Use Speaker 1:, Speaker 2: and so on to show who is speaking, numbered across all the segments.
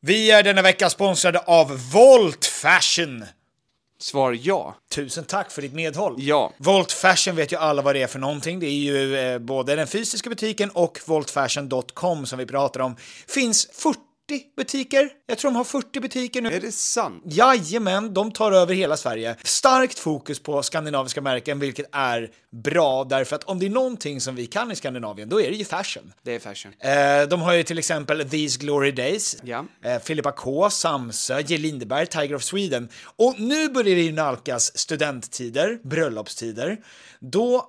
Speaker 1: Vi är denna vecka sponsrade av Volt Fashion.
Speaker 2: Svar ja.
Speaker 1: Tusen tack för ditt medhåll.
Speaker 2: Ja.
Speaker 1: Volt Fashion vet ju alla vad det är för någonting. Det är ju eh, både den fysiska butiken och voltfashion.com som vi pratar om. Finns 40 butiker. Jag tror de har 40 butiker nu.
Speaker 2: Är det sant?
Speaker 1: Jajamän, de tar över hela Sverige. Starkt fokus på skandinaviska märken, vilket är bra därför att om det är någonting som vi kan i Skandinavien, då är det ju fashion.
Speaker 2: Det är fashion.
Speaker 1: Eh, de har ju till exempel These Glory Days,
Speaker 2: Ja.
Speaker 1: eh, Filippa K, Samsö, J. Lindeberg, Tiger of Sweden. Och nu börjar det ju nalkas studenttider, bröllopstider. Då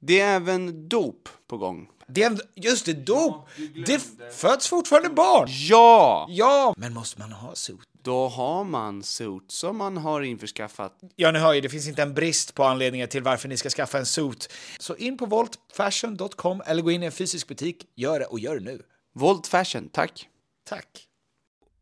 Speaker 2: Det är även dop på gång.
Speaker 1: Det är en, just det, dop! det f- föds fortfarande barn!
Speaker 2: Ja!
Speaker 1: Ja! Men måste man ha suits?
Speaker 2: Då har man suits som man har införskaffat.
Speaker 1: Ja, ni hör ju, det finns inte en brist på anledningar till varför ni ska skaffa en suit. Så in på voltfashion.com eller gå in i en fysisk butik. Gör det och gör det nu.
Speaker 2: Volt fashion, tack.
Speaker 1: Tack!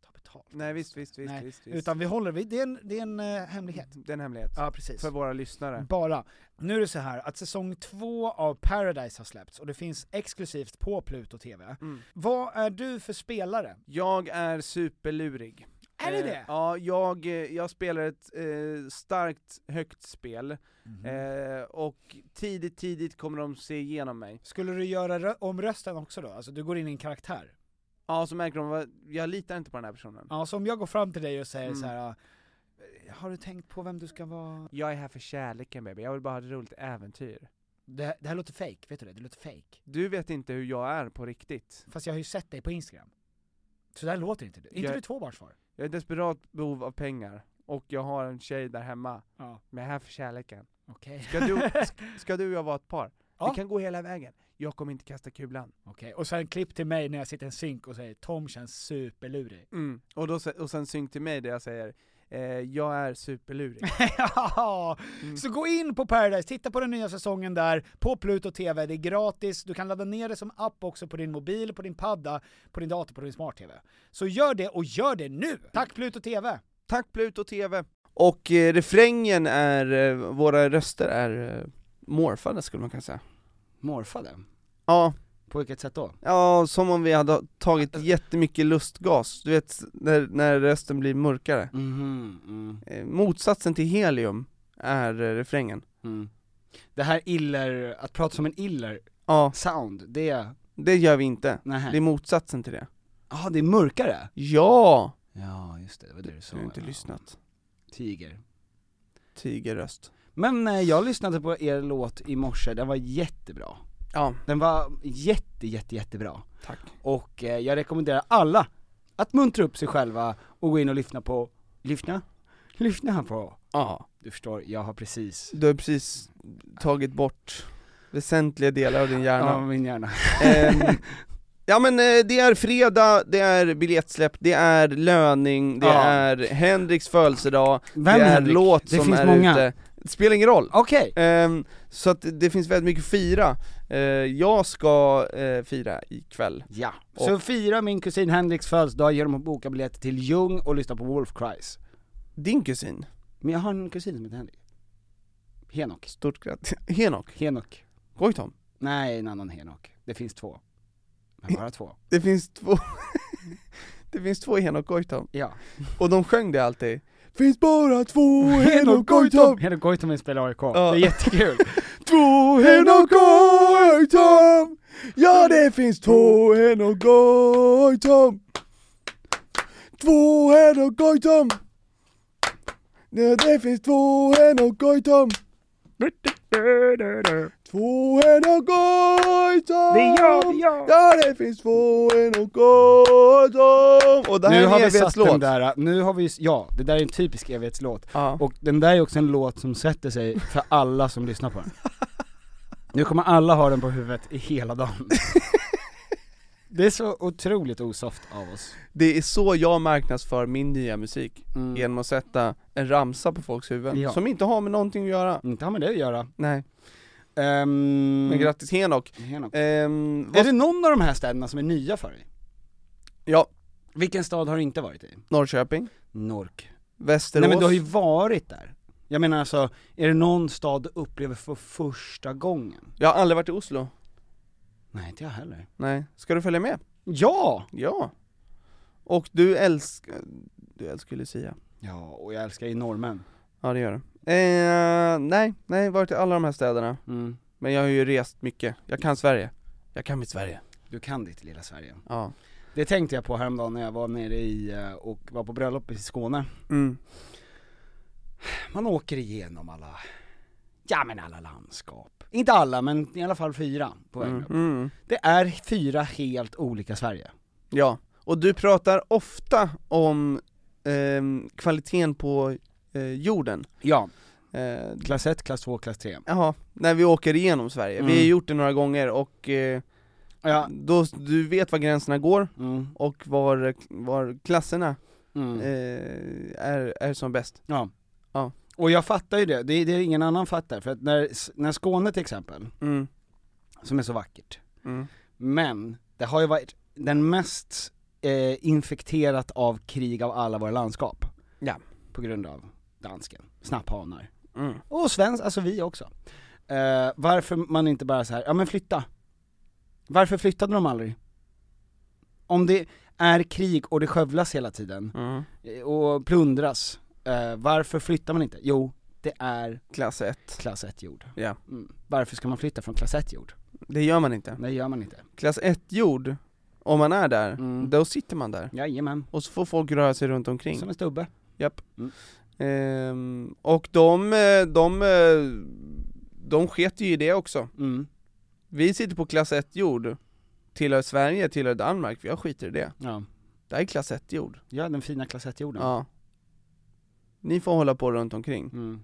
Speaker 3: ta betalt.
Speaker 4: Nej visst, visst, visst.
Speaker 3: Nej,
Speaker 4: visst, visst.
Speaker 3: utan vi håller vid, det är en, det är en eh, hemlighet.
Speaker 4: Det är en hemlighet.
Speaker 3: Ja, precis.
Speaker 4: För våra lyssnare.
Speaker 3: Bara. Nu är det så här att säsong två av Paradise har släppts och det finns exklusivt på Pluto TV. Vad är du för spelare?
Speaker 4: Jag är superlurig.
Speaker 3: Är det
Speaker 4: Eh,
Speaker 3: det?
Speaker 4: Ja, jag, eh, jag spelar ett eh, starkt, högt spel, eh, och tidigt, tidigt kommer de se igenom mig.
Speaker 3: Skulle du göra rö- om rösten också då? Alltså du går in i en karaktär?
Speaker 4: Ja, så märker de, vad- jag litar inte på den här personen. Mm.
Speaker 3: Ja, så om jag går fram till dig och säger så här. "Ah, har du tänkt på vem du ska vara?
Speaker 4: Jag är här för kärleken baby, jag vill bara ha ett roligt äventyr.
Speaker 3: Det, det här låter fake, vet du det? Det låter fake.
Speaker 4: Du vet inte hur jag är på riktigt.
Speaker 3: Fast jag har ju sett dig på Instagram. Så där låter inte du. Är inte
Speaker 4: Jag-
Speaker 3: du tvåbarnsfar?
Speaker 4: Jag är i desperat behov av pengar, och jag har en tjej där hemma,
Speaker 3: Ja,
Speaker 4: men jag är här för kärleken.
Speaker 3: okej.
Speaker 4: Ska du, sk- ska du och jag vara ett par?
Speaker 3: Ja.
Speaker 4: Vi kan gå hela vägen. Jag kommer inte kasta kulan.
Speaker 3: Okej, och sen klipp till mig när jag sitter i en synk och säger Tom känns superlurig.
Speaker 4: Mm. Och, då, se- och sen synk till mig där jag säger, eh, jag är superlurig.
Speaker 3: ja! Så gå in på Paradise, titta på den nya säsongen där, på Pluto TV, det är gratis, du kan ladda ner det som app också på din mobil, på din padda, på din dator, på din smart-TV. Så gör det, och gör det nu! Tack Pluto TV!
Speaker 4: Tack Pluto TV! Och eh, refrängen är, eh, våra röster är eh, morfade skulle man kunna säga.
Speaker 2: Morfade?
Speaker 4: Ja,
Speaker 2: På vilket sätt då?
Speaker 4: ja, som om vi hade tagit jättemycket lustgas, du vet när, när rösten blir mörkare.
Speaker 2: Mhm, mm,
Speaker 4: Eh, motsatsen till helium är eh,
Speaker 2: mhm.
Speaker 4: refrängen.
Speaker 2: mm. Det här iller, att prata som en iller
Speaker 4: Ja,
Speaker 2: sound, det,
Speaker 5: det gör vi inte.
Speaker 1: Nähä.
Speaker 5: Det är motsatsen till det.
Speaker 1: Jaha, det är mörkare?
Speaker 5: Ja!
Speaker 1: Ja, just det, det var det du sa.
Speaker 5: Du har inte
Speaker 1: ja.
Speaker 5: lyssnat.
Speaker 1: Tiger.
Speaker 5: Tigerröst.
Speaker 1: Men eh, jag lyssnade på er låt i morse, den var jättebra.
Speaker 5: Ja.
Speaker 1: Den var jätte, jätte, jättebra.
Speaker 5: Tack.
Speaker 1: Och eh, jag rekommenderar alla att muntra upp sig själva och gå in och lyssna på, lyssna? Lyssna på.
Speaker 5: Ja.
Speaker 1: Du förstår, jag har precis,
Speaker 5: Du har precis tagit bort väsentliga delar av din hjärna.
Speaker 1: ja min hjärna.
Speaker 5: Ehm, ja men eh, det är fredag, det är biljettsläpp, det är löning, det
Speaker 1: Ja.
Speaker 5: är Henriks födelsedag,
Speaker 1: Vem
Speaker 5: det är
Speaker 1: Henrik?
Speaker 5: låt
Speaker 1: Det
Speaker 5: som
Speaker 1: finns
Speaker 5: är
Speaker 1: många.
Speaker 5: ute. Det spelar ingen roll.
Speaker 1: Okej,
Speaker 5: Ehm, så att det finns väldigt mycket att fira. Eh, jag ska eh, fira ikväll.
Speaker 1: ja. Så fira min kusin Henriks födelsedag genom att boka biljetter till Jung och lyssna på Wolf Cries.
Speaker 5: Din kusin,
Speaker 1: Men jag har en kusin som heter Henrik. Henok.
Speaker 5: stort grattis. Henok,
Speaker 1: Henok.
Speaker 5: Goitom.
Speaker 1: Nej, en annan Henok. Det finns två. Men bara två.
Speaker 5: Det finns två Det finns två Henok Goitom,
Speaker 1: Ja.
Speaker 5: och de sjöng det alltid. Finns bara två Henok Goitom!
Speaker 1: Henok Goitom vill spela AIK.
Speaker 5: Ja.
Speaker 1: Det är jättekul.
Speaker 5: Två Henok Goitom! Ja det finns två Henok Goitom! Två Henok Goitom! Ja det finns två Henok Goitom! Två Henok Goitom!
Speaker 1: Det är jag, det är jag.
Speaker 5: Ja det finns två Henok Goitom! Och det här
Speaker 1: nu
Speaker 5: är
Speaker 1: har
Speaker 5: en
Speaker 1: vi satt den
Speaker 5: evighetslåt.
Speaker 1: där, nu har vi, ja, det där är en typisk evighetslåt.
Speaker 5: Ja.
Speaker 1: Och den där är också en låt som sätter sig för alla som lyssnar på den. Nu kommer alla ha den på huvudet i hela dagen. Det är så otroligt osoft av oss.
Speaker 5: Det är så jag marknadsför min nya musik,
Speaker 1: Mm.
Speaker 5: genom att sätta eh, en ramsa på folks huvuden,
Speaker 1: Ja.
Speaker 5: som inte har med någonting att göra.
Speaker 1: Inte har med det att göra.
Speaker 5: Nej,
Speaker 1: Um,
Speaker 5: men Mm. grattis Henok.
Speaker 1: Henok.
Speaker 5: Ehm,
Speaker 1: Är
Speaker 5: vad-
Speaker 1: det någon av de här städerna som är nya för dig?
Speaker 5: Ja,
Speaker 1: Vilken stad har du inte varit i?
Speaker 5: Norrköping,
Speaker 1: Nork.
Speaker 5: Västerås.
Speaker 1: Nej men du har ju varit där. Jag menar alltså, är det någon stad du upplever för första gången?
Speaker 5: Jag har aldrig varit i Oslo.
Speaker 1: Nej inte jag heller.
Speaker 5: Nej. Ska du följa med?
Speaker 1: Ja!
Speaker 5: Ja. Och du älskar, du älskar Lucia.
Speaker 1: Ja, och jag älskar ju norrmän.
Speaker 5: Ja det gör du. Eh, nej, nej, varit i alla de här städerna.
Speaker 1: Mm.
Speaker 5: Men jag har ju rest mycket. Jag kan Sverige. Jag kan mitt Sverige.
Speaker 1: Du kan ditt lilla Sverige.
Speaker 5: Ja.
Speaker 1: Det tänkte jag på häromdagen när jag var nere i, eh, och var på bröllop i Skåne.
Speaker 5: Mm.
Speaker 1: Man åker igenom alla, ja men alla landskap. Inte alla, men i alla fall fyra på vägen upp.
Speaker 5: Mm.
Speaker 1: Det är fyra helt olika Sverige.
Speaker 5: Ja, och du pratar ofta om ehm, kvaliteten på eh, jorden.
Speaker 1: Ja,
Speaker 5: Eh,
Speaker 1: klass 1, klass 2, klass 3.
Speaker 5: jaha, när vi åker igenom Sverige. Vi har
Speaker 1: Mm.
Speaker 5: gjort det några gånger och eh,
Speaker 1: Ja,
Speaker 5: då, du vet var gränserna går
Speaker 1: mm,
Speaker 5: och var, var klasserna
Speaker 1: mm.
Speaker 5: eh, är, är som bäst.
Speaker 1: Ja.
Speaker 5: Ja.
Speaker 1: Och jag fattar ju det, det är det ingen annan fattar. För att när, när Skåne till exempel,
Speaker 5: Mm.
Speaker 1: som är så vackert,
Speaker 5: Mm.
Speaker 1: men det har ju varit den mest eh, infekterat av krig av alla våra landskap.
Speaker 5: Ja.
Speaker 1: På grund av dansken, snapphanar.
Speaker 5: Mm.
Speaker 1: Och svensk, alltså vi också. Eh, varför man inte bara så här, ja men flytta. Varför flyttade de aldrig? Om det är krig och det skövlas hela tiden,
Speaker 5: Mm.
Speaker 1: eh, och plundras. Eh, varför flyttar man inte? Jo, det är
Speaker 5: Klass 1.
Speaker 1: klass 1-jord.
Speaker 5: Ja.
Speaker 1: Mm. Varför ska man flytta från klass 1-jord?
Speaker 5: Det gör man inte.
Speaker 1: Det gör man inte.
Speaker 5: Klass 1-jord, om man är där,
Speaker 1: Mm.
Speaker 5: då sitter man där.
Speaker 1: Jajamän.
Speaker 5: Och så får folk röra sig runt omkring.
Speaker 1: Som en stubbe.
Speaker 5: Japp.
Speaker 1: Mm.
Speaker 5: Ehm, och de, eh, de, eh, de sket ju i det också.
Speaker 1: Mm.
Speaker 5: Vi sitter på klass 1 jord, tillhör Sverige, tillhör Danmark, jag skiter i det.
Speaker 1: Ja.
Speaker 5: Det här är klass 1 jord.
Speaker 1: ja, den fina klass 1-jorden.
Speaker 5: Ja. Ni får hålla på runt omkring.
Speaker 1: Mm.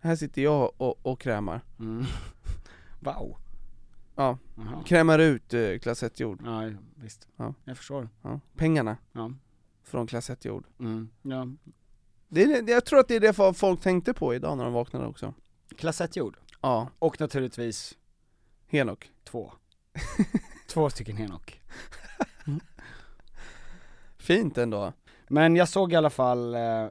Speaker 5: Här sitter jag och, och krämar.
Speaker 1: Mm. Wow.
Speaker 5: Ja.
Speaker 1: Jaha.
Speaker 5: Krämar ut eh, klass 1 jord.
Speaker 1: Ja, visst.
Speaker 5: Ja.
Speaker 1: Jag förstår.
Speaker 5: Ja. Pengarna
Speaker 1: Ja.
Speaker 5: från klass 1 jord.
Speaker 1: Mm. ja.
Speaker 5: Det är, det- jag tror att det är det fa- folk tänkte på idag när de vaknade också.
Speaker 1: Klass 1-jord.
Speaker 5: Ja,
Speaker 1: Och naturligtvis
Speaker 5: Henok.
Speaker 1: två. två stycken Henok.
Speaker 5: Fint ändå.
Speaker 1: Mm. Men jag såg i alla fall eh,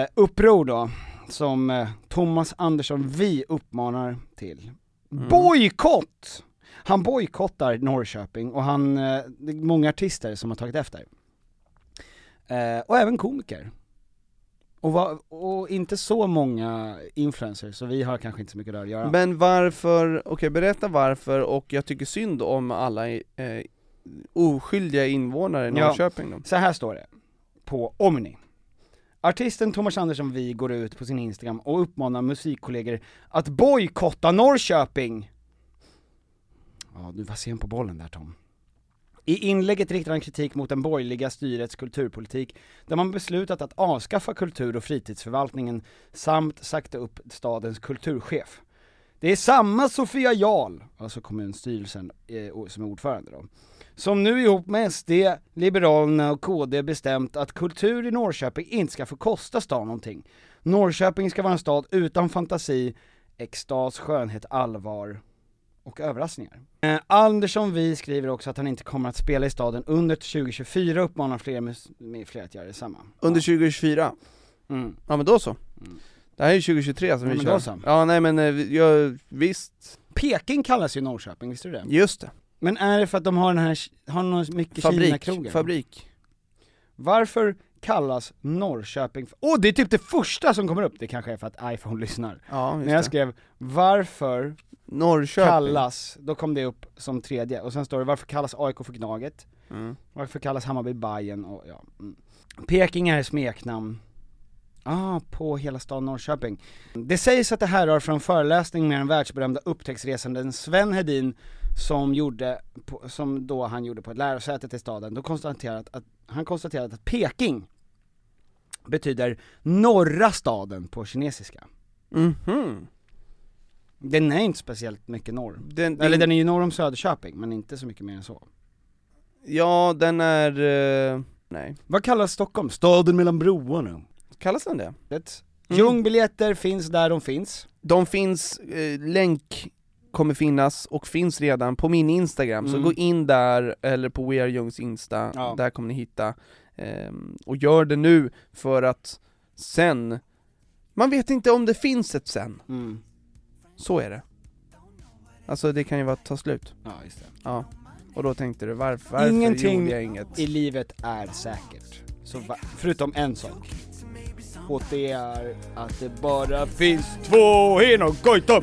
Speaker 1: eh, uppror då, som eh, Thomas Andersson Vi uppmanar till.
Speaker 5: Mm.
Speaker 1: Bojkott! Han bojkottar Norrköping och han, eh, det är många artister som har tagit efter. Eh, och även komiker. Och, va, och inte så många influencers, så vi har kanske inte så mycket där att göra.
Speaker 5: Men varför, okej berätta varför och jag tycker synd om alla eh, oskyldiga invånare i
Speaker 1: Ja.
Speaker 5: Norrköping då.
Speaker 1: Så här står det, på Omni. Artisten Thomas Andersson Vi går ut på sin Instagram och uppmanar musikkollegor att bojkotta Norrköping. Ja, du var sen på bollen där Tom. I inlägget riktar han kritik mot den borgerliga styrets kulturpolitik, där man beslutat att avskaffa kultur och fritidsförvaltningen samt sakta upp stadens kulturchef. Det är samma Sofia Jarl, alltså kommunstyrelsen eh, och- som är ordförande då, som nu ihop med SD, Liberalerna och KD bestämt att kultur i Norrköping inte ska få kosta stan någonting. Norrköping ska vara en stad utan fantasi, extas, skönhet, allvar och överraskningar. Eh, Andersson Vi skriver också att han inte kommer att spela i staden under 2024 och uppmanar fler mus- med fler att göra detsamma.
Speaker 5: Under 2024?
Speaker 1: Mm.
Speaker 5: Ja men då så. Det här är ju 2023 som
Speaker 1: Ja,
Speaker 5: vi
Speaker 1: men
Speaker 5: kör.
Speaker 1: då så.
Speaker 5: Ja nej men eh, vi- jag, visst.
Speaker 1: Peking kallas ju Norrköping, visste du det?
Speaker 5: Just det.
Speaker 1: Men är det för att de har den här, har någon mycket
Speaker 5: Fabrik,
Speaker 1: Kina-krogar?
Speaker 5: fabrik.
Speaker 1: Varför kallas Norrköping för... Åh, det är typ det första som kommer upp! Det kanske är för att iPhone lyssnar.
Speaker 5: Ja, just
Speaker 1: När jag
Speaker 5: det.
Speaker 1: skrev 'Varför
Speaker 5: Norrköping.
Speaker 1: kallas...' Då kom det upp som tredje, och sen står det 'Varför kallas AIK för Gnaget?'
Speaker 5: Mm.
Speaker 1: Varför kallas Hammarby Bajen och ja. Mm. Peking är smeknamn. Ah, på hela staden Norrköping. Det sägs att det här är från föreläsning med den världsberömda upptäcktsresanden Sven Hedin som gjorde, på, som då han gjorde på ett lärosätet i staden. Då konstaterat att, han konstaterade att Peking betyder norra staden på kinesiska.
Speaker 5: Mhm.
Speaker 1: Den är inte speciellt mycket norr.
Speaker 5: Den-
Speaker 1: Eller
Speaker 5: den-
Speaker 1: den är ju norr om Söderköping, men inte så mycket mer än så.
Speaker 5: Ja den är, eh, nej.
Speaker 1: Vad kallas Stockholm? Staden mellan broarna.
Speaker 5: Kallas den det? Mm.
Speaker 1: Det. Ljungbiljetter finns där de finns.
Speaker 5: De finns, eh, länk kommer finnas och finns redan på min Instagram,
Speaker 1: Mm.
Speaker 5: så gå in där eller på We Are Youngs Insta,
Speaker 1: Ja.
Speaker 5: där kommer ni hitta. Ehm, och gör det nu för att sen, man vet inte om det finns ett sen.
Speaker 1: Mm.
Speaker 5: Så är det. Alltså det kan ju vara ta slut.
Speaker 1: Ja, just det.
Speaker 5: Ja. Och då tänkte du varför, varför
Speaker 1: Ingenting
Speaker 5: gjorde jag inget?
Speaker 1: i livet är säkert. Så va- förutom en sak. Och det är att det bara finns två henor Goitom!